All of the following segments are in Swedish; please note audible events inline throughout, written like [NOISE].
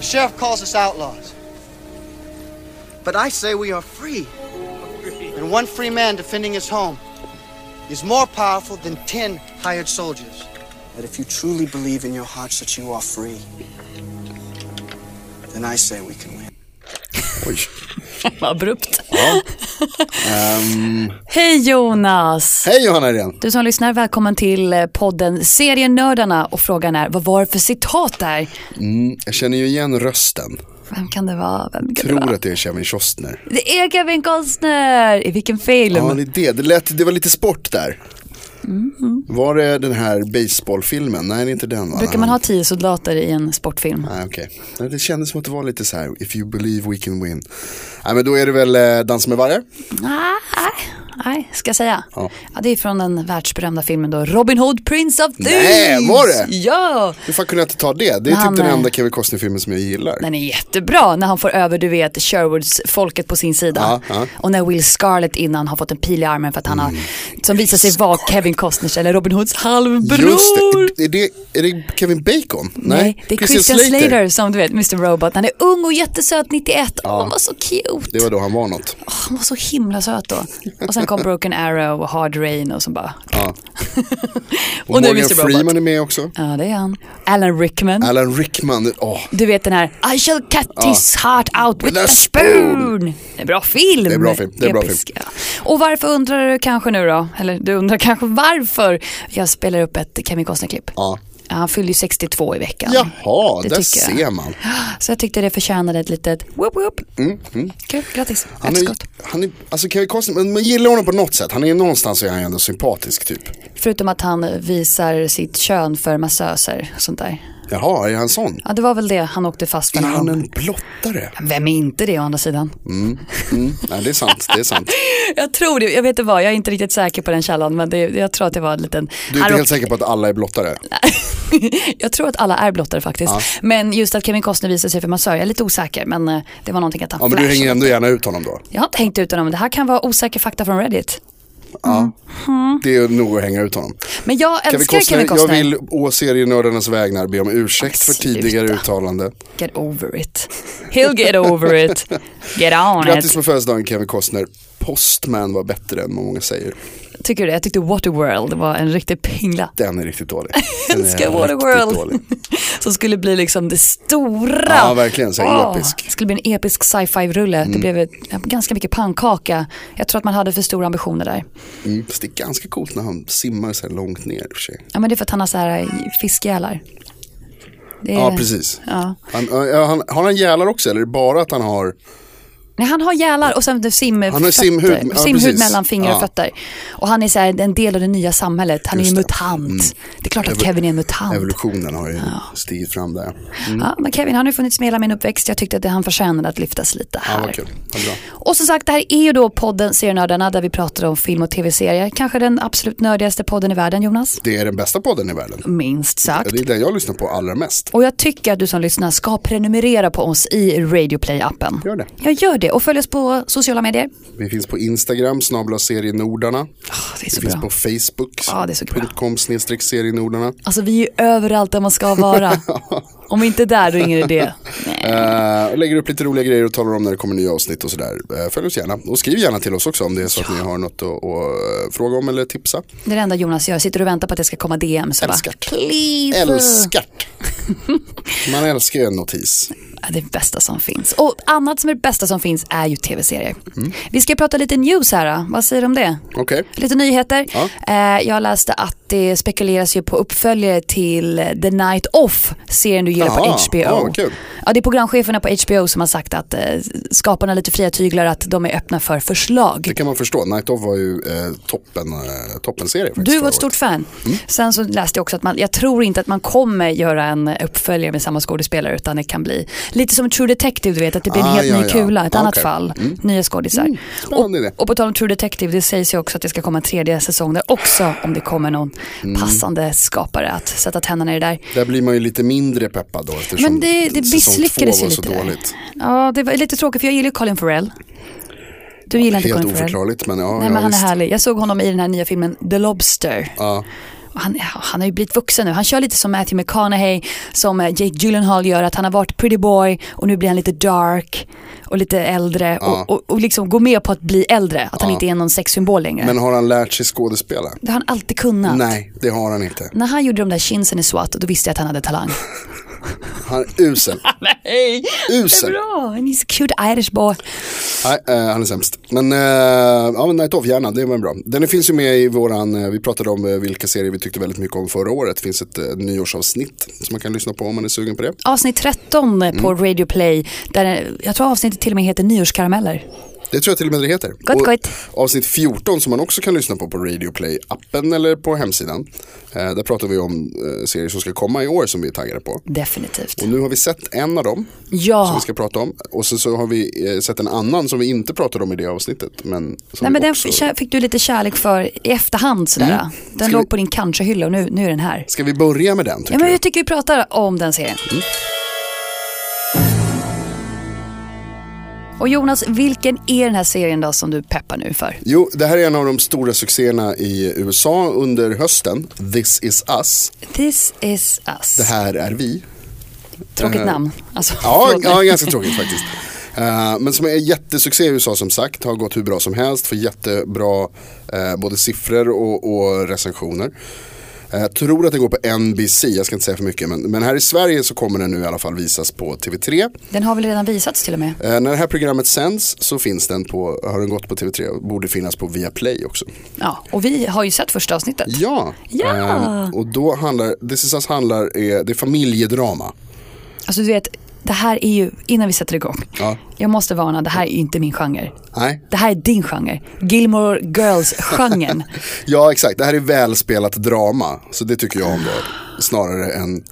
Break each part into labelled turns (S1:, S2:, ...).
S1: sheriff calls us outlaws. But I say we are free. And one free man defending his home is more powerful than ten hired soldiers. That if you truly believe in your hearts that you are free, then I say we can win.
S2: Oj.
S3: Abrupt. [LAUGHS]
S2: Ja. Ehm,
S3: Hej Jonas!
S2: hej Johanna Irene.
S3: Du som lyssnar, välkommen till eh, podden Serienördarna och frågan är, vad var det för citat där?
S2: Mm, jag känner ju igen rösten.
S3: Vem kan det vara? Vem kan det,
S2: Tror
S3: vara?
S2: att det är Kevin Costner.
S3: det är Kevin Costner! I vilken film?
S2: Ja, det är det. Det, lät, det var lite sport där. Var det den här baseballfilmen? Nej, det är inte den va?
S3: Mhm. Brukar man ha tio soldater i en sportfilm?
S2: Nej, okej. Nej, Det kändes som att det var lite så här, if you believe we can win. Nej, men då är det väl eh, Dansa med vargar?
S3: Nej, nej, ska jag säga.
S2: Ja.
S3: Ja. det är från den världsberömda filmen då, Robin Hood, Prince of Thieves.
S2: Nej, var det?
S3: Ja!
S2: Hur fan kunde jag inte ta det? Det är
S3: Han,
S2: typ den
S3: eh,
S2: enda Kevin Costner-filmen som jag gillar.
S3: Den är jättebra när han får över, du vet, Sherwoods folket på sin sida.
S2: Ja, ja. Mm.
S3: Och när Will Scarlett innan har fått en pil i armen för att han har, som visar sig vara Kevin Costners eller Robin Hoods halvbror.
S2: Just det. Är det, är det Kevin Bacon?
S3: Nej, det är Christian Slater. som du vet, Mr Robot. Han är ung och jättesöt, 91. Åh, han var så cute.
S2: Det var då han var något.
S3: Åh, han var så himla söt då. Och sen kom Broken Arrow och Hard Rain och så bara... [LAUGHS]
S2: Ja. Och,
S3: Och nu är
S2: Morgan
S3: Mr. Robot.
S2: Freeman är med också.
S3: Ja, det är han. Alan Rickman.
S2: Alan Rickman, åh,
S3: Du vet den här I shall cut his heart out with
S2: With a
S3: a spoon. Det är bra film.
S2: Det är bra film, det är bra
S3: Episk, ja. Och varför undrar du kanske nu då? Eller du undrar kanske varför jag spelar upp ett Kevin Costner-klipp.
S2: ja.
S3: Ja, Han fyllde ju 62 i veckan.
S2: Jaha,
S3: Det
S2: där
S3: tycker jag.
S2: ser man.
S3: Så jag tyckte det förtjänade ett litet whoop whoop. Kul, grattis.
S2: Mm-hmm. Han är,
S3: Efterskott.
S2: han är, alltså Kevin Costner, men man gillar honom på något sätt. Han är någonstans är han ju ändå sympatisk typ.
S3: Förutom att han visar sitt kön för massöser och sånt där.
S2: Jaha, är han sån?
S3: Ja, det var väl det han åkte fast för
S2: Är
S3: någon
S2: han
S3: gång.
S2: en blottare?
S3: Vem är inte det å andra sidan?
S2: Mm, nej, det är sant, det är sant.
S3: Jag tror det, jag vet inte vad, jag är inte riktigt säker på den källan men det, jag tror att det var en liten...
S2: Du
S3: [LAUGHS]
S2: är inte
S3: Här-
S2: helt säker på att alla är blottare?
S3: jag tror att alla är blottare faktiskt. Men just att Kevin Costner visar sig för massör, jag är lite osäker men eh, det var någonting att han
S2: Ja, men du
S3: flashade.
S2: hänger ändå gärna ut honom då?
S3: Jag har inte hängt ut honom, det här kan vara osäker fakta från Reddit.
S2: Det är nog att hänga ut honom.
S3: Men jag Mm.
S2: Kevin
S3: älskar
S2: Costner,
S3: Kevin Costner.
S2: jag vill å serienördarnas vägnar be om ursäkt för
S3: Sluta.
S2: tidigare uttalande.
S3: Get over it. He'll get over it. Get
S2: [LAUGHS]
S3: on
S2: Grattis
S3: it.
S2: på födelsedagen Kevin Costner. Postman var bättre än vad många säger.
S3: Tycker du det? Jag tyckte Waterworld var en riktig pingla.
S2: Den är riktigt
S3: [LAUGHS]
S2: dålig. Den är
S3: Älskar
S2: Eh, riktigt dålig.
S3: Waterworld. [LAUGHS] Som skulle bli liksom det stora.
S2: Ja, verkligen, så här
S3: Åh,
S2: episk. Mm.
S3: Det skulle bli en episk sci-fi-rulle. Det blev ett, ganska mycket pannkaka. Jag tror att man hade för stora ambitioner där.
S2: Mm, fast det är ganska coolt när han simmar så här långt ner i och för sig.
S3: Ja, men det är för att han har så här fiskgälar. Det är-
S2: Ja, precis.
S3: Ja.
S2: Han, ja, han, har han gälar också eller är det bara att han har?
S3: Nej, han har gälar och sen sim,
S2: Han har simhud, ja,
S3: simhud
S2: precis.
S3: mellan fingrar och
S2: Ja.
S3: fötter. Och han är så här, en del av det nya samhället. Han är ju
S2: Just det. Mm.
S3: mutant. Det är klart att
S2: Evol-
S3: Kevin är en mutant.
S2: Evolutionen har ju stigit fram där.
S3: Ja, men Kevin han har ju funnits med hela min uppväxt. Jag tyckte att det han förtjänade att lyftas lite
S2: Ja,
S3: här.
S2: vad kul. Vad bra.
S3: Och som sagt, det här är ju då podden Serienördarna där vi pratar om film och tv-serier. Kanske den absolut nördigaste podden i världen, Jonas.
S2: Det är den bästa podden i världen.
S3: Minst sagt.
S2: Det är den jag lyssnar på allra mest.
S3: Och jag tycker att du som lyssnar ska prenumerera på oss i Radioplay-appen.
S2: Gör det.
S3: Jag gör det och följ oss på sociala medier.
S2: Vi finns på Instagram, snabla serienordarna.
S3: Åh, Ah, det är
S2: Vi
S3: så
S2: finns
S3: bra.
S2: på Facebook,
S3: Ja, det är så bra.
S2: .com snedstreck serienordarna.
S3: Alltså vi är ju överallt där man
S2: [LAUGHS]
S3: ska vara. Om vi inte är där, då är ingen idé. Nej.
S2: Eh, och lägger upp lite roliga grejer och talar om när det kommer nya avsnitt och sådär. Eh, följ oss gärna och skriv gärna till oss också om det är så att ni har något att, att eh, fråga om eller tipsa.
S3: Det är det enda Jonas gör, sitter och väntar på att det ska komma DM. Så bara,
S2: Älskar't.
S3: please.
S2: Älskart. Man älskar ju en notis.
S3: Ja, Det är det bästa som finns. Och annat som är det bästa som finns är ju tv-serier.
S2: Mm.
S3: Vi ska prata lite news här. Då. Vad säger du om det?
S2: Okej.
S3: Lite nyheter.
S2: Ja.
S3: Eh, jag läste att det spekuleras ju på uppföljare till The Night Off, serien du gillar
S2: Jaha,
S3: på HBO.
S2: ja, vad kul.
S3: Ja, det är programcheferna på HBO som har sagt att eh, skaparna har lite fria tyglar, att de är öppna för förslag.
S2: Det kan man förstå. Night Of var ju eh, toppen, eh, toppenserie faktiskt.
S3: Du
S2: förra
S3: var
S2: året.
S3: ett stort fan.
S2: Mm.
S3: Sen så läste jag också att man, jag tror inte att man kommer göra en uppföljare med samma skådespelare utan det kan bli lite som True Detective, du vet att det blir en
S2: Ah,
S3: helt
S2: ja,
S3: ny
S2: ja.
S3: kula, ett
S2: Ah,
S3: annat
S2: okej. Mm.
S3: fall, nya skådisar.
S2: spännande idé.
S3: och, och på tal om True Detective, det sägs ju också att det ska komma en tredje säsong där också om det kommer någon
S2: Mm.
S3: passande skapare att sätta tänderna i det där.
S2: Där blir man ju lite mindre peppad då eftersom
S3: Men det,
S2: säsong
S3: det
S2: två
S3: misslyckades ju
S2: var
S3: lite
S2: så
S3: där.
S2: dåligt.
S3: Ja, det var lite tråkigt för jag gillar ju Colin Farrell. Du gillar inte
S2: Helt
S3: Colin Farrell?
S2: oförklarligt men ja,
S3: Nej
S2: ja
S3: men han är
S2: visst.
S3: härlig. Jag såg honom i den här nya filmen The Lobster.
S2: Ja.
S3: Och han, han har ju blivit vuxen nu. Han kör lite som Matthew McConaughey, som eh, Jake Gyllenhaal gör, att han har varit pretty boy och nu blir han lite dark och lite äldre
S2: Ja.
S3: och, och, och liksom går med på att bli äldre, att han
S2: Ja.
S3: inte är någon sexsymbol längre.
S2: Men har han lärt sig skådespela?
S3: det har han alltid kunnat.
S2: Nej, det har han inte.
S3: När han gjorde de där chinsen i SWAT, då visste jag att han hade talang.
S2: Han är usel.
S3: Nej, det är
S2: Usel.
S3: bra. And he's a cute Irish boy.
S2: Nej, eh, han är sämst. Men, eh, ja men Night Off, gärna, det var bra. Den finns ju med i våran, eh, vi pratade om eh, vilka serier vi tyckte väldigt mycket om förra året. Det finns ett eh, nyårsavsnitt som man kan lyssna på om man är sugen på det.
S3: Avsnitt 13 på
S2: Mm.
S3: Radio Play, där eh, jag tror avsnittet till och med heter Nyårskarameller.
S2: Det tror jag till och med det heter.
S3: Gott,
S2: och
S3: gott.
S2: Avsnitt 14 som man också kan lyssna på på Radio Play appen eller på hemsidan. Eh, där pratar vi om eh, serier som ska komma i år som vi är taggade på.
S3: Definitivt.
S2: Och nu har vi sett en av dem som
S3: Ja,
S2: vi ska prata om. Och sen så har vi eh, sett en annan som vi inte pratade om i det avsnittet. Men som
S3: Nej, men
S2: vi
S3: den
S2: också...
S3: kä- fick du lite kärlek för i efterhand sådär.
S2: Mm.
S3: Den
S2: Ska
S3: låg
S2: vi-
S3: på din kanske-hylla och nu, nu är den här.
S2: Ska vi börja med den
S3: Ja,
S2: tycker
S3: men
S2: du?
S3: jag tycker vi pratar om den serien.
S2: Mm.
S3: Och Jonas, vilken är den här serien då som du peppar nu för?
S2: Jo, det här är en av de stora succéerna i USA under hösten. This is us.
S3: This is us.
S2: Det här är vi.
S3: Tråkigt
S2: eh,
S3: namn. Alltså,
S2: Ja,
S3: förlåt mig.
S2: ja ganska tråkigt faktiskt. Eh, men som är en jättesuccé i USA som sagt, har gått hur bra som helst, får jättebra eh, både siffror och, och recensioner. Eh, Jag tror att det går på NBC, jag ska inte säga för mycket. Men, men här i Sverige så kommer den nu i alla fall visas på TV3.
S3: Den har väl redan visats till och med.
S2: Eh, när det här programmet sänds så finns den på, har den gått på TV3 och borde finnas på Viaplay också.
S3: Ja, och vi har ju sett första avsnittet.
S2: Ja,
S3: Ja.
S2: Ehm, och då handlar, This is us handlar, eh, det är familjedrama.
S3: Alltså du vet, det här är ju, innan vi sätter igång.
S2: Ja.
S3: Jag måste varna, det här är ju inte min genre.
S2: Nej.
S3: Det här är din genre.
S2: [LAUGHS]
S3: Gilmore Girls-genren.
S2: Ja exakt, det här är välspelat drama. Så det tycker jag om då. Snarare än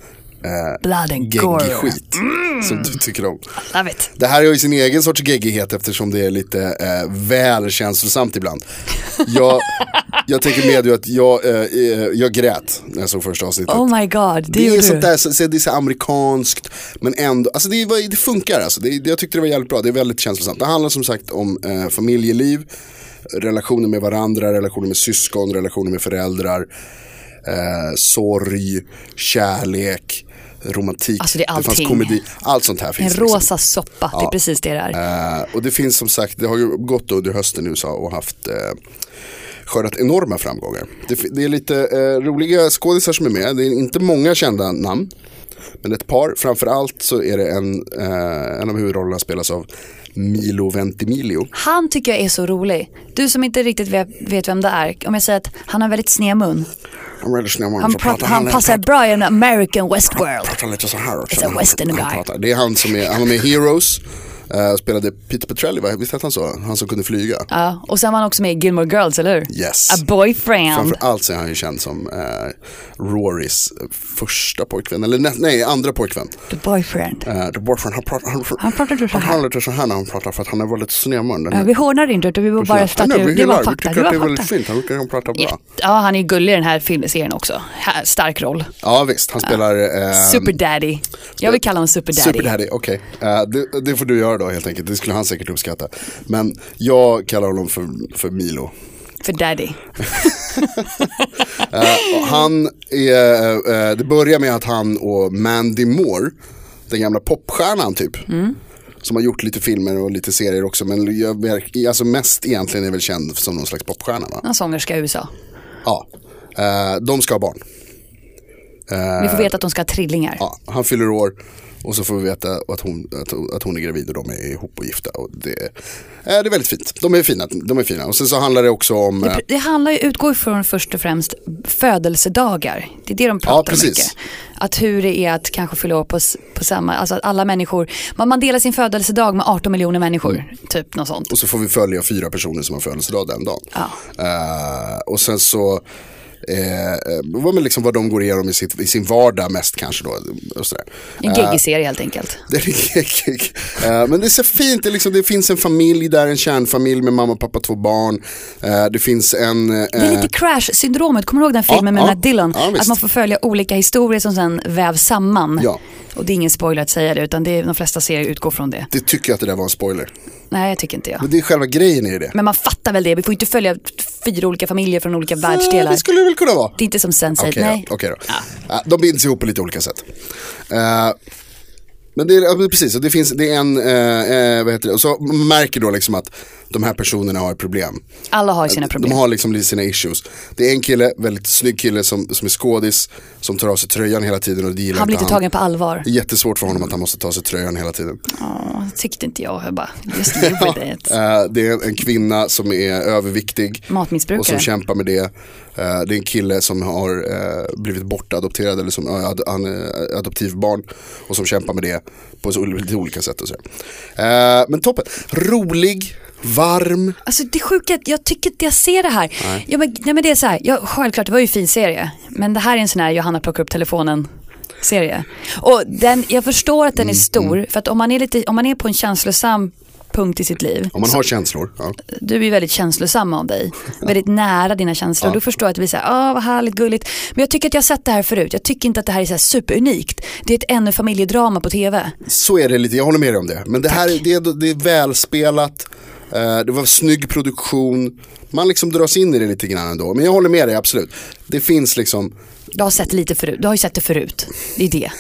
S3: Blood and gore.
S2: geggig skit. Som du tycker om.
S3: Love it.
S2: Det här har ju sin egen sorts geggighet eftersom det är lite eh, väl känslosamt ibland. Jag, jag tänker med ju att jag, eh, eh, jag grät när jag såg första avsnittet.
S3: Oh my god, det,
S2: Det är
S3: gjorde
S2: sånt
S3: du.
S2: där, så, så det är så amerikanskt men ändå, alltså det, var- det funkar alltså. Det, det- jag tyckte det var jävligt bra, det är väldigt känslosamt. Det handlar som sagt om eh, familjeliv, relationer med varandra, relationer med syskon, relationer med föräldrar, eh, sorg, kärlek, romantik.
S3: Alltså, det är
S2: fanns
S3: allting.
S2: komedi, allt sånt här
S3: En
S2: finns. liksom.
S3: rosa soppa, det är precis det det är.
S2: Eh, och det finns som sagt, det har ju gått under hösten i USA och haft eh, skördat enorma framgångar. Det, fi- det är lite eh, roliga skådisar som är med, det är inte många kända namn. Men ett par, framförallt så är det en, eh, en av huvudrollerna spelas av Milo Ventimiglia.
S3: Han tycker jag är så rolig. Du som inte riktigt ve- vet vem det är, om jag säger att han har väldigt sned mun.
S2: Han, är väldigt snäll, man
S3: Han,
S2: får prata-
S3: pra- han
S2: är-
S3: passar bra i en American Westworld.
S2: pratar lite så här också.
S3: It's a
S2: Han-
S3: western
S2: han
S3: guy.
S2: pratar. Det är han som är, han var med i Heroes, eh, spelade Peter Petrelli, va? visst hette han så? Han som kunde flyga.
S3: Ja, och sen var han också med i Gilmore Girls, eller hur?
S2: Yes.
S3: A boyfriend.
S2: Framförallt så är han ju känd som eh, Rorys eh, första pojkvän, eller nä- nej, andra pojkvän.
S3: The boyfriend.
S2: Eh, the boyfriend, han pratar, han,
S3: Han pratar så här.
S2: han har lite så här när han pratar för att han är väldigt snedmun. Den
S3: Ja,
S2: här-
S3: vi hånar inte, utan vi var bara
S2: Nej, nej,
S3: starta.
S2: vi
S3: Det var
S2: hyllar.
S3: fakta.
S2: Vi
S3: Det
S2: tycker att det är
S3: var
S2: väldigt
S3: fakta.
S2: fint, han brukar prata bra.
S3: Jätte- Ja, han är ju gullig i den här filmserien också. Här, stark roll.
S2: Ja visst, han spelar eh,
S3: Superdaddy. Jag vill kalla honom Superdaddy.
S2: Superdaddy, okej. Eh, det, det får du göra då helt enkelt, det skulle han säkert uppskatta. Men jag kallar honom för, för Milo.
S3: För daddy.
S2: Och han är, eh, det börjar med att han och Mandy Moore, den gamla popstjärnan typ. Som har gjort lite filmer och lite serier också. Men jag, verk- alltså mest egentligen är väl känd som någon slags popstjärna va?
S3: En sångerska i USA.
S2: Ja. Eh, de ska ha barn.
S3: Vi får veta att de ska ha trillingar.
S2: Ehm, Ja, han fyller år och så får vi veta att hon, att, hon- att hon är gravid och de är ihop och gifta. Och det, eh, det är väldigt fint. De är fina. De är fina. Och sen så handlar det också om... eh,
S3: Det handlar ju, utgår ifrån först och främst födelsedagar. Det är det de
S2: Ja,
S3: pratar om
S2: precis.
S3: mycket. Att hur det är att kanske fylla år på, s- på samma, alltså att alla människor, man, man delar sin födelsedag med 18 miljoner människor,
S2: Mm.
S3: typ något sånt.
S2: Och så får vi följa fyra personer som har födelsedag den dagen.
S3: Ja.
S2: Eh, och sen så, eh, eh, vad, men liksom vad de går igenom i, sitt, i sin vardag mest kanske då. Och sådär. Eh,
S3: En geggig serie helt enkelt.
S2: Det är geggig. Eh, Men det är så fint, det, är liksom, det finns en familj där, en kärnfamilj med mamma, pappa, två barn. Eh, Det finns en... eh,
S3: Det är lite crash-syndromet, kommer du ihåg den filmen
S2: ja,
S3: med Matt Dillon?
S2: ja, visst.
S3: att man får följa olika historier som sen vävs samman.
S2: Ja.
S3: Och det är ingen spoiler att säga det utan det är, de flesta serier utgår från det.
S2: Det tycker jag att det där var en spoiler.
S3: Nej, jag tycker inte jag.
S2: Men det är själva grejen i det.
S3: Men man fattar väl det, vi får inte följa fyra olika familjer från olika världsdelar.
S2: Eh, Det skulle det väl kunna vara.
S3: Det är inte som Sense8,
S2: Okej
S3: nej.
S2: då. okej då. Ja, De binds ihop på lite olika sätt. Eh, men det är, ja, men precis, och det finns, det är en, eh, eh, vad heter det, och så man märker då liksom att de här personerna har problem.
S3: Alla har ju sina problem.
S2: De har liksom lite sina issues. Det är en kille, väldigt snygg kille som, som är skådis, som tar av sig tröjan hela tiden och det gillar
S3: han blir inte
S2: han.
S3: tagen på allvar.
S2: Det är jättesvårt för honom att han måste ta av sig tröjan hela tiden.
S3: Åh, tyckte inte jag, jag bara, just
S2: [LAUGHS]
S3: live with it.
S2: Eh, det är en kvinna som är överviktig.
S3: Matmissbrukare.
S2: Och som kämpar med det. Eh, det är en kille som har eh, blivit bortadopterad eller som ja, ad, han är adoptivbarn. Och som kämpar med det på så, lite olika sätt och så. Eh, men toppen, rolig, varm.
S3: Alltså det sjuka, är att jag tycker inte jag ser det här. Ja, men, nej men det är så här, ja, självklart det var ju en fin serie. Men det här är en sån här Johanna plockar upp telefonen serie. Och den, jag förstår att den är stor, för att om man är, lite, om man är på en känslosam punkt i sitt liv.
S2: Om man har känslor. Ja.
S3: Du är ju väldigt känslosam av dig, väldigt nära dina känslor. Du förstår att det blir så här, ah, vad härligt, gulligt. Men jag tycker att jag har sett det här förut, jag tycker inte att det här är så här superunikt. Det är ett ännu familjedrama på tv.
S2: Så är det lite, jag håller med dig om det. Men det här det, är- det är välspelat, eh, det var snygg produktion. Man liksom dras in i det lite grann ändå. Men jag håller med dig, absolut. Det finns liksom,
S3: Du har sett lite förut, du har ju sett det förut. Det är det.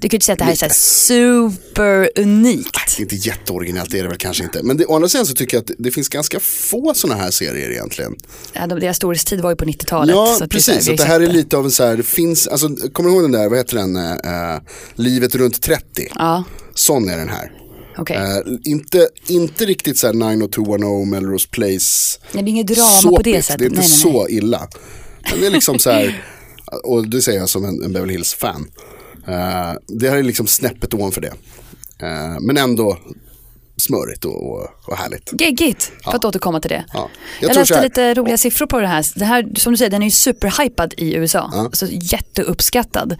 S3: Du kan ju inte säga att det här är så här superunikt.
S2: inte jätteoriginellt det är det väl kanske inte. Men det, å andra sidan så tycker jag att det finns ganska få sådana här serier egentligen.
S3: Ja, de- Deras storhetstid var ju på 90-talet.
S2: ja,
S3: så att
S2: precis.
S3: är så
S2: att det
S3: vi har
S2: här är
S3: sett
S2: lite av en så här, det finns, alltså, kommer du ihåg den där, vad heter den, eh, eh, Livet runt 30?
S3: Ja,
S2: Sån är den här.
S3: okej.
S2: Eh, inte, inte riktigt så här 90210 Melrose Place.
S3: Nej, det är inget drama på det
S2: såpigt.
S3: sättet.
S2: Det är inte
S3: Nej, nej, nej.
S2: så illa. Men det är liksom så här, och det säger jag som en, en Beverly Hills-fan. Eh, det här är liksom snäppet ovanför det. Eh, men ändå smörigt och, och, och härligt.
S3: Geggigt, för att återkomma till det.
S2: Ja.
S3: Jag,
S2: tror så
S3: läste
S2: här-
S3: lite roliga siffror på det här. Det här, som du säger, den är ju superhypad i USA. Alltså jätteuppskattad.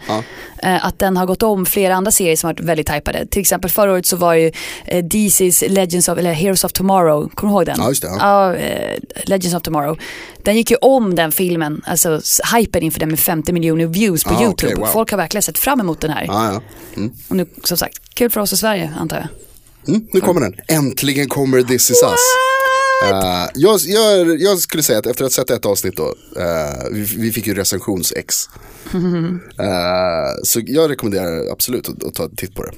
S3: Eh, Att den har gått om flera andra serier som har varit väldigt hypade. Till exempel förra året så var ju eh, DC's Legends of, eller Heroes of Tomorrow, kommer du ihåg den?
S2: Ja, just det, ja.
S3: Ja, eh, Legends of Tomorrow. Den gick ju om den filmen, alltså s- hypen inför den med 50 miljoner views på
S2: Ah, okej,
S3: YouTube.
S2: wow.
S3: Folk har verkligen sett fram emot den här.
S2: Ja, ja.
S3: Och nu, som sagt, kul för oss i Sverige antar jag.
S2: Mm, nu kommer den. Äntligen kommer This is us. Eh, jag, jag, jag skulle säga att efter att ha sett ett avsnitt då, eh, vi, vi fick ju recensions-ex. Eh, så jag rekommenderar absolut att, att ta en titt på det.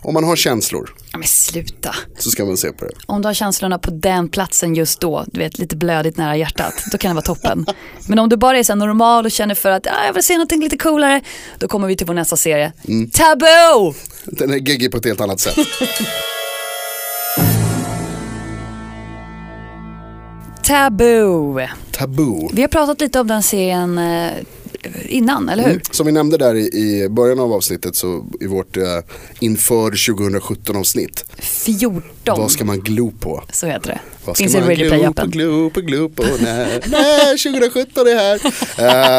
S2: Om man har känslor
S3: Ja, men sluta.
S2: så ska man se på det.
S3: Om du har känslorna på den platsen just då, du vet lite blödigt nära hjärtat, då kan det vara toppen.
S2: [LAUGHS]
S3: Men om du bara är så här normal och känner för att ah, jag vill se någonting lite coolare, då kommer vi till vår nästa serie.
S2: Mm.
S3: Taboo!
S2: Den är geggig på ett helt annat
S3: [LAUGHS]
S2: sätt.
S3: Taboo!
S2: Taboo.
S3: Vi har pratat lite om den serien eh, innan, eller hur?
S2: Mm. Som vi nämnde där i, i början av avsnittet, så i vårt eh, inför 2017 avsnitt.
S3: 14,
S2: Vad ska man glo på?
S3: så heter det.
S2: Vad
S3: Finns
S2: ska
S3: i
S2: man
S3: Ready Play
S2: glo på,
S3: appen.
S2: glo på, glo på, nej, nej, 2017 är här.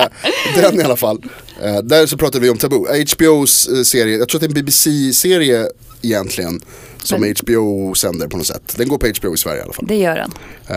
S2: Eh, den i alla fall. Eh, där så pratade vi om Taboo, HBOs eh, serie, jag tror att det är en BBC-serie egentligen. Som
S3: Men-
S2: HBO sänder på något sätt. Den går på HBO i Sverige i alla fall.
S3: Det gör den.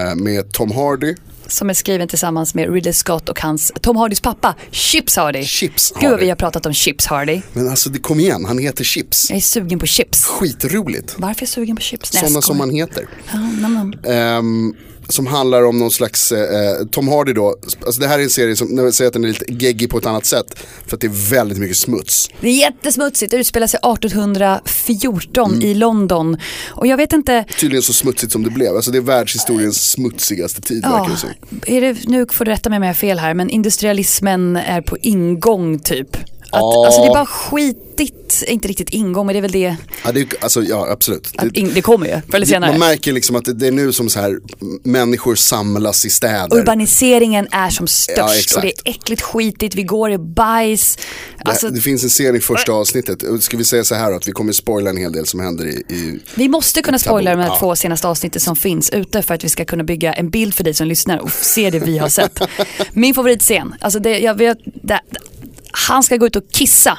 S2: Eh, med Tom Hardy,
S3: Som är skriven tillsammans med Ridley Scott och hans, Tom Hardys pappa, Chips Hardy.
S2: Chips
S3: Gud vad vi
S2: Hardy.
S3: har pratat om Chips Hardy.
S2: Men alltså det kom igen, han heter Chips.
S3: Jag är sugen på chips.
S2: Skitroligt.
S3: Varför är jag sugen på chips? Nej, jag
S2: Sådana
S3: skojar.
S2: som man heter.
S3: Ja, nej, men-
S2: Ehm, som handlar om någon slags, eh, Tom Hardy då, alltså det här är en serie som, när jag säger att den är lite geggig på ett annat sätt, för att det är väldigt mycket smuts.
S3: Det är jättesmutsigt, det utspelar sig 1814 i London. Och jag vet inte,
S2: Tydligen så smutsigt som det blev, alltså det är världshistoriens smutsigaste tid verkar
S3: ja,
S2: det som.
S3: är det, nu får du rätta mig om jag har fel här, men industrialismen är på ingång typ. Att,
S2: Ja.
S3: Alltså det är bara skitigt, inte riktigt ingång men det är väl det,
S2: Ja, det, är- alltså, ja absolut.
S3: att
S2: Det,
S3: in, det kommer ju förr eller
S2: det, man
S3: senare.
S2: märker liksom att det, det är nu som så här, m- människor samlas i städer.
S3: Urbaniseringen är som störst
S2: exakt.
S3: och det är äckligt skitigt, vi går i bajs.
S2: Det-
S3: Alltså,
S2: det finns en scen i första avsnittet, Och ska vi säga så här då, att vi kommer spoila en hel del som händer i, i
S3: vi måste kunna spoila de här
S2: Ja.
S3: två senaste avsnitten som finns ute för att vi ska kunna bygga en bild för dig som lyssnar och se det vi
S2: [LAUGHS]
S3: har sett. Min favoritscen, alltså det, jag vet, det, han ska gå ut och kissa.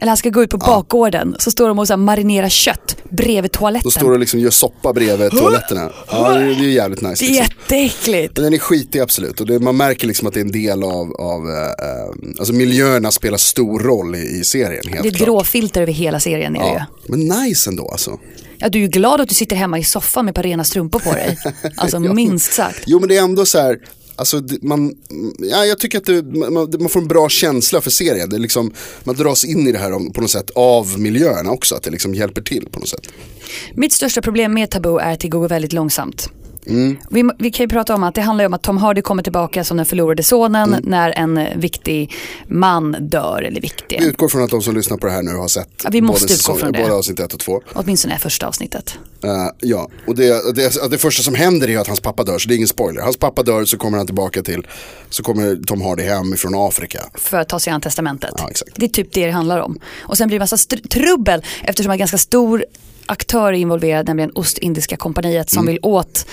S3: Eller han ska gå ut på bakgården. Så står de och så här marinerar kött bredvid
S2: Då
S3: toaletten.
S2: står du liksom gör soppa bredvid toaletterna. Ja, det är det är jävligt nice.
S3: Det är
S2: liksom.
S3: jätteäckligt.
S2: Men den är skitig absolut och det, man märker liksom att det är en del av, av eh, eh, alltså miljöerna spelar stor roll i, i serien helt
S3: Det är ett
S2: klart.
S3: gråfilter över hela serien. Är det ju.
S2: ja. Men nice ändå alltså.
S3: Ja, du är ju glad att du sitter hemma i soffan med ett par rena strumpor
S2: [LAUGHS]
S3: på dig. Alltså minst sagt.
S2: Jo men det är ändå så här, alltså det- man, ja, jag tycker att det, man, man får en bra känsla för serien. Det är liksom, man dras in i det här om- på något sätt av miljöerna också, att det liksom hjälper till på något sätt.
S3: Mitt största problem med Taboo är att det går väldigt långsamt.
S2: Mm.
S3: Vi, må- vi kan ju prata om att det handlar ju om att Tom Hardy kommer tillbaka som den förlorade sonen
S2: Mm.
S3: när en eh, viktig man dör, eller viktig,
S2: Vi utgår från att de som lyssnar på det här nu har sett
S3: Ja, vi måste utgå från det.
S2: både avsnitt 1 och 2.
S3: åtminstone är första avsnittet.
S2: Eh, ja, och det, det, det första som händer är att hans pappa dör, så det är ingen spoiler. Hans pappa dör så kommer han tillbaka till, så kommer Tom Hardy hem från Afrika.
S3: för att ta sig an testamentet.
S2: Ja, exakt.
S3: Det är typ det det handlar om. Och sen blir det massa str- trubbel eftersom en ganska stor aktör är involverad, nämligen Ostindiska kompaniet
S2: Mm.
S3: som vill åt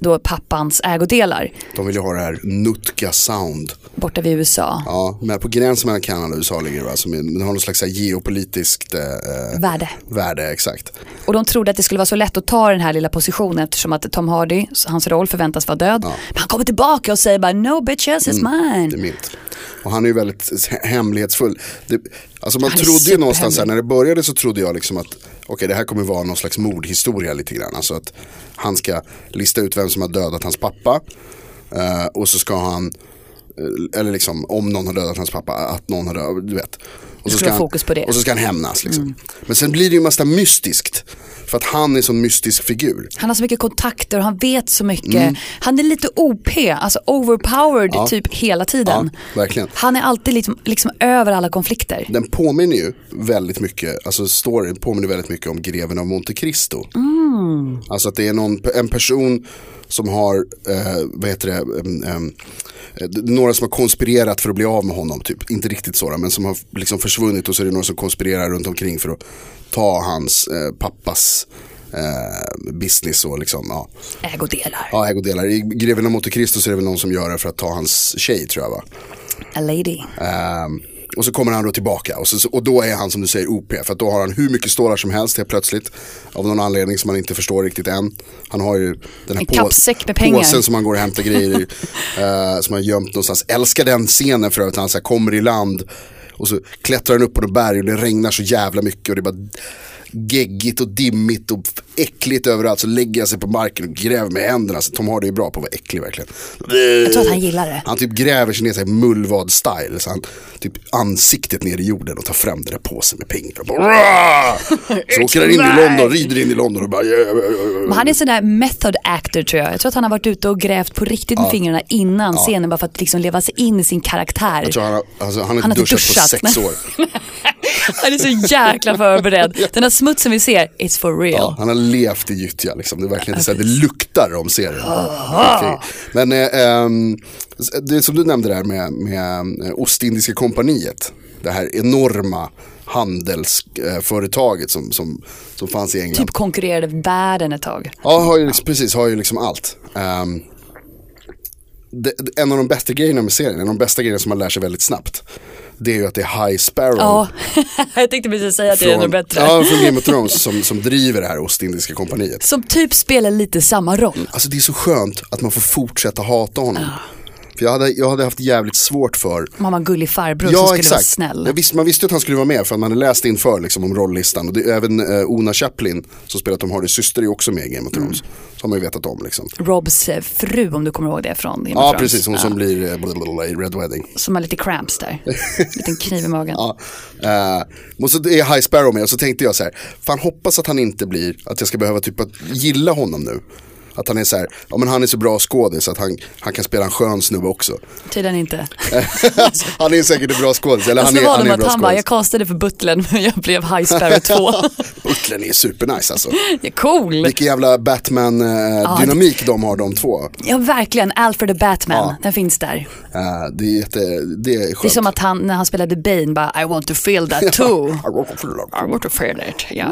S3: då pappans ägodelar
S2: De vill ju ha det här Nutka Sound.
S3: borta vid USA.
S2: Ja, men på gränsen mellan Kanada och USA ligger det va? Som är, det har någon slags så här geopolitiskt eh, eh,
S3: Värde.
S2: värde, exakt.
S3: Och de trodde att det skulle vara så lätt att ta den här lilla positionen eftersom att Tom Hardy, hans roll förväntas vara död. Men han kommer tillbaka och säger bara no bitches it's
S2: Det är
S3: mine.
S2: milt. Och han är ju väldigt hä- hemlighetsfull. Det, alltså man
S3: Han är
S2: trodde ju någonstans här,
S3: superhemlig.
S2: när det började så trodde jag liksom att okej det här kommer vara någon slags mordhistoria lite grann. Alltså att han ska lista ut vem som har dödat hans pappa. eh, och så ska han, eh, eller liksom om någon har dödat hans pappa, att någon har dödat, du vet. Och så,
S3: skulle vara fokus på det. Mm.
S2: och så ska han hämnas liksom. Men sen blir det ju massa mystiskt. För att han är en sån mystisk figur.
S3: Han har så mycket kontakter och han vet så mycket.
S2: Mm.
S3: Han är lite OP, alltså overpowered typ hela tiden.
S2: Ja, verkligen.
S3: Han är alltid liksom, liksom över alla konflikter.
S2: Den påminner ju väldigt mycket, alltså storyn påminner väldigt mycket om greven av Monte Cristo. Alltså att det är någon, en person som har, eh, vad heter det, em, em, eh, några som har konspirerat för att bli av med honom, typ. inte riktigt sådana, men som har liksom försvunnit och så är det några som konspirerar runt omkring för att ta hans eh, pappas eh, business och liksom, ja.
S3: Ägodelar.
S2: ja, ägodelar. I Greven av Monte Cristo så är det väl någon som gör det för att ta hans tjej tror jag va.
S3: A lady.
S2: Ehm, och så kommer han då tillbaka och, så, och då är han som du säger OP för att då har han hur mycket stålar som helst helt plötsligt. Av någon anledning som man inte förstår riktigt än. Han har ju den här
S3: En kappsäck med pengar.
S2: påsen som han går och hämtar
S3: [LAUGHS]
S2: grejer i. eh, som han har gömt någonstans. Älskar den scenen för övrigt när han så här kommer i land. Och så klättrar han upp på något berg och det regnar så jävla mycket och det är bara geggigt och dimmigt och äckligt överallt. Så lägger han sig på marken och gräver med händerna. Så Tom Hardy är bra på att vara äcklig verkligen.
S3: Jag tror att han gillar det.
S2: Han typ gräver sig ner sig mullvad-style. Så han typ ansiktet ner i jorden och tar fram den där påsen med pengar. Och bara, "Rah!" så åker han in i London, rider in i London och bara "Ja, ja, ja, ja, ja."
S3: Men han är sån där method actor tror jag. Jag tror att han har varit ute och grävt på riktigt med fingrarna innan scenen bara för att liksom leva sig in i sin karaktär.
S2: Jag tror han har, alltså, han har
S3: Han har
S2: inte
S3: inte
S2: duschat,
S3: duschat,
S2: på sex
S3: nej. [LAUGHS]
S2: år.
S3: Han är så
S2: [LAUGHS]
S3: jäkla förberedd. Den där smutsen vi ser, it's for real.
S2: Ja, han har levt i gyttja liksom. Det är verkligen inte så här, det luktar om serien. Okej. Men eh, ehm, det är som du nämnde där med, med eh, Ostindiska kompaniet. Det här enorma handelsföretaget som, som, som fanns i England.
S3: Typ konkurrerade världen ett tag.
S2: Ja, har ju, liksom- precis, har ju liksom allt. Ehm, det, det- en av de bästa grejerna med serien, en av de bästa grejerna som man lär sig väldigt snabbt, det är ju att det är High Sparrow.
S3: Ja, [LAUGHS] jag tänkte precis säga att det är ännu bättre.
S2: ja, från Game of Thrones som, som driver det här Ostindiska kompaniet.
S3: Som typ spelar lite samma roll.
S2: Alltså det är så skönt att man får fortsätta hata honom. För jag hade, jag hade haft jävligt svårt för
S3: Mamma gullig farbror som skulle vara
S2: Jag
S3: snäll.
S2: visste, man visste ju att han skulle vara med för att man hade läst inför liksom, om rolllistan. Och det, även eh, Ona Chaplin som spelar Tom Hardys syster är ju också med i Game of Thrones.
S3: Mm.
S2: Som man ju vetat om liksom.
S3: Robs eh, fru om du kommer ihåg det från Game of
S2: Ja,
S3: Thrones.
S2: precis. Hon
S3: Ja.
S2: som blir eh, blablabla i Red Wedding.
S3: Som har lite
S2: [LAUGHS]
S3: cramps där. Liten kniv i magen.
S2: Ja. Eh, och så är High Sparrow med och så tänkte jag så här, fan hoppas att han inte blir, att jag ska behöva typ att gilla honom nu. Att han är så här, ja men han är så bra skådis att han, han kan spela en skön snubbe också.
S3: Tydligen inte.
S2: Alltså, Eh, han är säkert en bra skådis, eller
S3: Jag
S2: han
S3: slog
S2: är, han
S3: honom
S2: är en
S3: att
S2: bra
S3: han bara, jag
S2: skådis.
S3: castade för butlern men jag blev High
S2: [LAUGHS]
S3: Sparrow 2.
S2: Butlern är supernice alltså.
S3: Det är cool!
S2: Vilken jävla Batman-dynamik de har de två.
S3: Ja verkligen, Alfred och Batman,
S2: Ja.
S3: den finns där.
S2: Eh, det är jätte, det är skönt.
S3: Det är som att han, när han spelade Bane, bara I want to
S2: [LAUGHS]
S3: feel that too. I want to feel it, ja.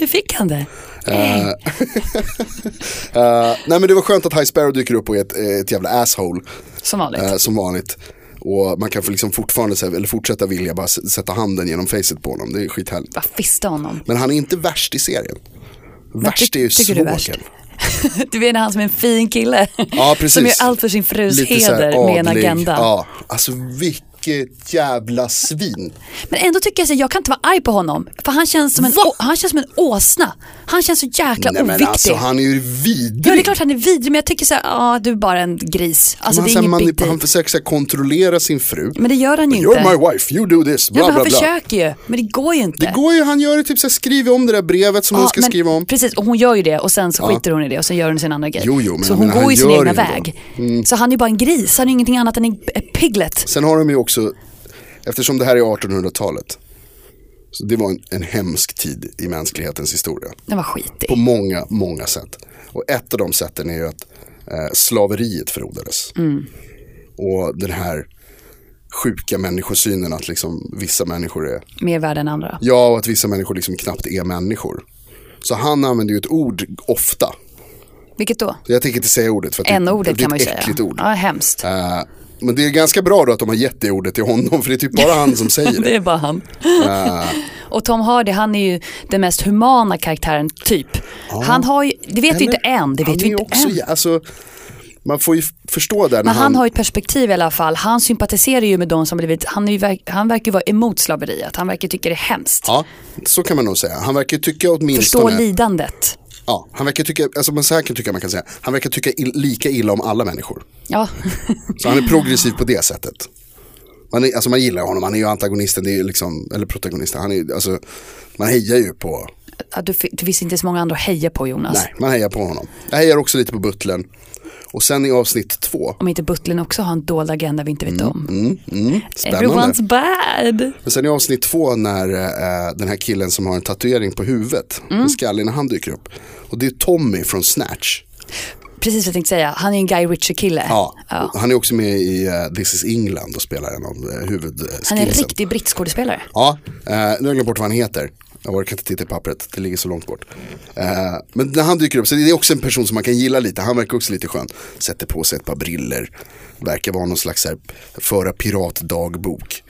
S3: Nu fick han det. Eh, Yay.
S2: Eh, nej men det var skönt att High Sparrow dyker upp och är ett, ett jävla asshole.
S3: Som vanligt.
S2: Eh, som vanligt. Och man kan få liksom fortfarande så här, eller fortsätta vilja bara s- sätta handen genom facet på honom. Det är skithärligt.
S3: Bara fista honom.
S2: Men han är inte värst i serien. Värst
S3: ty-
S2: är ju
S3: tycker du är
S2: svågen.
S3: värst? [LAUGHS] Du menar han som är en fin kille.
S2: Ja, precis.
S3: Som gör allt för sin frus
S2: Lite så här
S3: heder med en
S2: adlig.
S3: agenda.
S2: Ja, alltså vilket jävla svin.
S3: Men ändå tycker jag att jag kan inte vara arg på honom. För han känns som en, å, han känns som en åsna. Han känns så jäkla
S2: Nej men
S3: oviktig.
S2: alltså han är ju
S3: Ja, det är
S2: vidrig.
S3: klart han är vidrig, men jag tycker så här, ja du är bara en gris. Alltså
S2: han,
S3: det
S2: så
S3: är
S2: här
S3: inget big
S2: manip-
S3: deal.
S2: han försöker så här kontrollera sin fru.
S3: Men det gör han ju inte.
S2: You're my wife, you do this, bla
S3: ja, men
S2: bla
S3: han
S2: bla.
S3: försöker ju, men det går ju inte.
S2: Det går ju, han gör ju typ så här, skriver om det där brevet som hon ska
S3: men,
S2: skriva om.
S3: Precis, och hon gör ju det och sen så skiter hon i det och sen gör hon sin andra grej.
S2: Jo, jo, men
S3: så
S2: jag
S3: hon
S2: menar,
S3: går
S2: han
S3: ju sin
S2: gör
S3: egna
S2: ju det Mm.
S3: väg. Så han är ju bara en gris, han är ju ingenting annat än en ett piglet.
S2: Sen har de ju också, eftersom det här är 1800-talet, så det var en, en hemsk tid i mänsklighetens historia.
S3: Den var skitig.
S2: På många, många sätt. Och ett av de sätten är ju att eh, slaveriet frodades.
S3: Mm.
S2: Och den här sjuka människosynen att liksom vissa människor är
S3: Mer värd än andra.
S2: Ja, och att vissa människor liksom knappt är människor. Så han använder ju ett ord ofta.
S3: Vilket då?
S2: Jag tänker inte säga ordet för att det,
S3: N-ordet
S2: det är
S3: kan man
S2: ett
S3: ju säga.
S2: äckligt ord.
S3: Ja, hemskt.
S2: Eh, men det är ganska bra då att de har gett det ordet till honom för det är typ bara han som
S3: [LAUGHS]
S2: säger det.
S3: [LAUGHS] Det är bara han.
S2: Ah.
S3: [LAUGHS] och Tom Hardy, han är ju den mest humana karaktären, typ. Han har ju, det vet vi
S2: Eller?
S3: inte än, det
S2: Han
S3: vet
S2: är
S3: vi
S2: ju
S3: inte
S2: också,
S3: än.
S2: jä- Alltså, man får ju f- förstå där när
S3: Men han
S2: han,
S3: har ju ett perspektiv i alla fall. Han sympatiserar ju med de som har blivit, han, är ju, verk- han verkar ju vara emot slaveriet. Han verkar tycka det är hemskt.
S2: Ja, så kan man nog säga. Han verkar ju tycka åtminstone...
S3: Förstå lidandet.
S2: Ja, han verkar tycka, alltså man så här kan tycka man kan säga, han verkar tycka ill, lika illa om alla människor.
S3: Ja. [LAUGHS]
S2: Så han är progressiv på det sättet. Man, är, alltså man gillar honom, han är ju antagonisten, det är ju liksom, eller protagonisten, han är, ju- alltså, man hejar ju på,
S3: Ja, du, fi- du visste inte så många andra att heja på Jonas.
S2: nej, man hejar på honom. Jag hejar också lite på butlern. Och sen i avsnitt två,
S3: Om inte Butlin också har en dold agenda vi inte vet om.
S2: Mm,
S3: Eh,
S2: spännande.
S3: Everyone's bad.
S2: Men sen i avsnitt två när eh, den här killen som har en tatuering på huvudet, mm. skallig, när han dyker upp. Och det är Tommy från Snatch.
S3: Precis vad jag tänkte säga, han är en Guy Ritchie-kille.
S2: Ja. och Han är också med i eh, This is England och spelar en av eh, huvudskillsen.
S3: Han är en riktig brittskådespelare.
S2: Ja, eh, nu har jag glömt bort vad han heter. Jag orkar inte titta i pappret, det ligger så långt bort. Eh, men när han dyker upp, så det är också en person som man kan gilla lite. Han verkar också lite skön. Sätter på sig ett par briller Verkar vara någon slags så här, föra piratdagbok.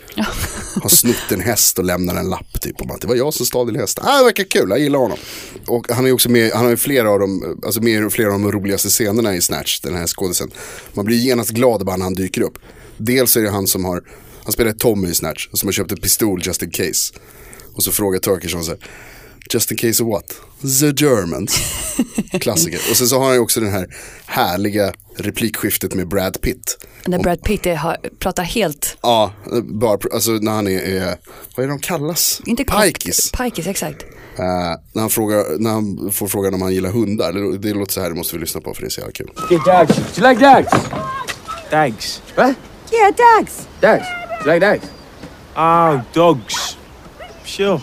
S2: Har snott en häst och lämnar en lapp typ. Om att det var jag som stal din häst. Ah, det verkar kul, jag gillar honom. Och han är också med, han har ju flera av de, alltså med i flera av de roligaste scenerna i Snatch, den här skådisen. Man blir genast glad bara när han dyker upp. Dels är det han som har han spelar Tommy i Snatch som har köpt en pistol just in case. Och så frågar Turkishon så här, just in case of what? The Germans. Klassiker. Och sen så har han ju också den här härliga replikskiftet med Brad Pitt.
S3: När Brad Pitt är, har, pratar helt,
S2: Ja, bara, alltså när han är, är vad är de kallas?
S3: inte
S2: Pikis.
S3: Pikis, exakt.
S2: Eh, när, han frågar, när han får frågan om han gillar hundar, det, det låter så här, det måste vi lyssna på för det är så jävla kul.
S4: Yeah, dogs. Do you like dogs? Dogs. What?
S5: Yeah, dogs.
S4: Dogs. Do you like dogs? Oh, dogs. Sure.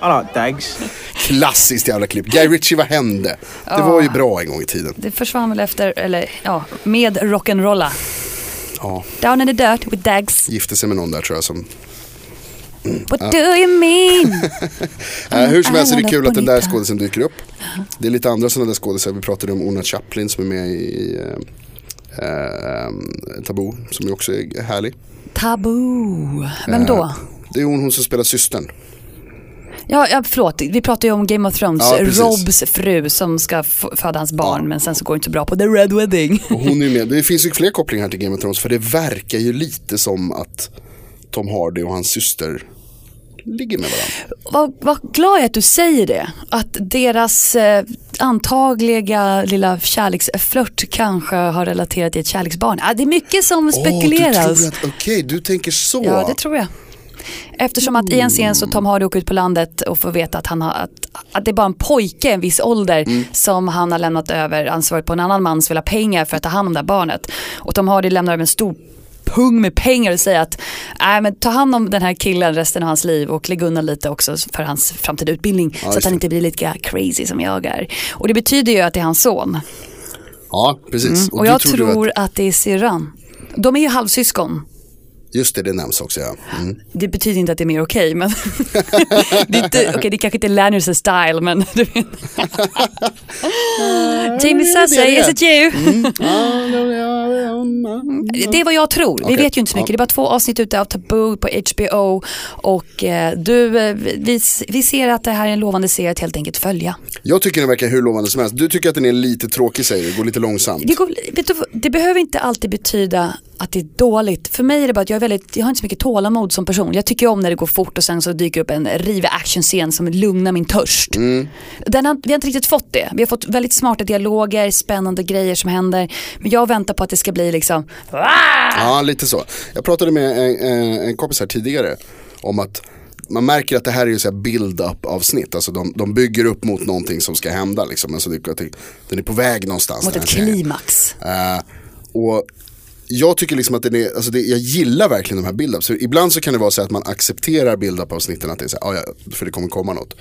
S4: I like dogs.
S2: Klassiskt jävla klipp. Guy Ritchie, vad hände? Det var ju bra en gång i tiden.
S3: Det försvann väl efter, eller ja, med rock'n'rolla.
S2: Ja,
S3: Down in the dirt with dags.
S2: gifte sig med någon där tror jag som Mm,
S3: What do
S2: [LAUGHS]
S3: you mean?
S2: Eh, hur som helst är det
S3: Island
S2: kul
S3: of
S2: att den där
S3: Bonita.
S2: skådisen dyker upp. Det är lite andra sådana där skådisar. Vi pratade om Ona Chaplin som är med i eh, eh, Taboo, som ju också är härlig.
S3: Taboo. Vem då?
S2: Det är hon, hon som spelar systern.
S3: Ja, ja, förlåt. Vi pratar ju om Game of Thrones.
S2: Ja, precis.
S3: Robs fru som ska f- föda hans barn, men sen så går det inte så bra på The Red
S2: [LAUGHS]
S3: Wedding.
S2: Och hon är ju med. Det finns ju fler kopplingar här till Game of Thrones för det verkar ju lite som att Tom Hardy och hans syster ligger med varandra.
S3: Vad, vad glad jag är att du säger det. Att deras eh, antagliga lilla kärleksflört kanske har relaterat till ett kärleksbarn. Ah, det är mycket som
S2: Åh, du tror
S3: spekuleras.
S2: att- Okej, du tänker så.
S3: Ja, det tror jag. Eftersom att i en scen så Tom Hardy åker ut på landet och får veta att, han har, att, att det är bara en pojke i en viss ålder
S2: Mm.
S3: som han har lämnat över ansvaret på en annan man som vill ha pengar för att ta hand om det här barnet. Och Tom Hardy lämnar över en stor pung med pengar och säger att "Nej, men ta hand om den här killen resten av hans liv och lägg undan lite också för hans framtida utbildning så att
S2: just
S3: han
S2: det.
S3: inte blir lika crazy som jag är. Och det betyder ju att det är hans son.
S2: Ja, precis.
S3: Mm. Och,
S2: du
S3: jag
S2: du
S3: tror att... det är syrran. De är ju halvsyskon.
S2: Just det, det nämns också ja. Mm.
S3: Det betyder inte att det är mer okej, men [LAUGHS] det, är inte, okej, det kanske inte är Lanners style, men du vet. Jamie Sassay, is it you? Det är vad jag tror, vi
S2: Okej.
S3: vet ju inte så mycket. Det är bara två avsnitt ute av Taboo på HBO och eh, du, eh, vi, vi ser att det här är en lovande serie att helt enkelt följa.
S2: Jag tycker den verkar hur lovande som helst. Du tycker att den är lite tråkig säger du, går lite långsamt.
S3: Det, går, vet du, vad, det behöver inte alltid betyda att det är dåligt. För mig är det bara att jag, är väldigt, jag har inte så mycket tålamod som person. Jag tycker om när det går fort och sen så dyker upp en rivig actionscen som lugnar min törst.
S2: Mm.
S3: Den har, vi har inte riktigt fått det. Vi har fått väldigt smarta dialoger, spännande grejer som händer. Men jag väntar på att det ska bli liksom,
S2: Ja, lite så. Jag pratade med en, en, en kompis här tidigare om att man märker att det här är ju så här build-up avsnitt. Alltså de, de bygger upp mot någonting som ska hända liksom. Alltså det, att det- den är på väg någonstans.
S3: mot
S2: den
S3: ett
S2: här serien.
S3: klimax.
S2: Eh, och jag tycker liksom att den är, alltså det, jag gillar verkligen de här build-ups. Så Ibland så kan det vara så att man accepterar build-up avsnitten att det är så här, "Ah, ja, för det kommer komma något.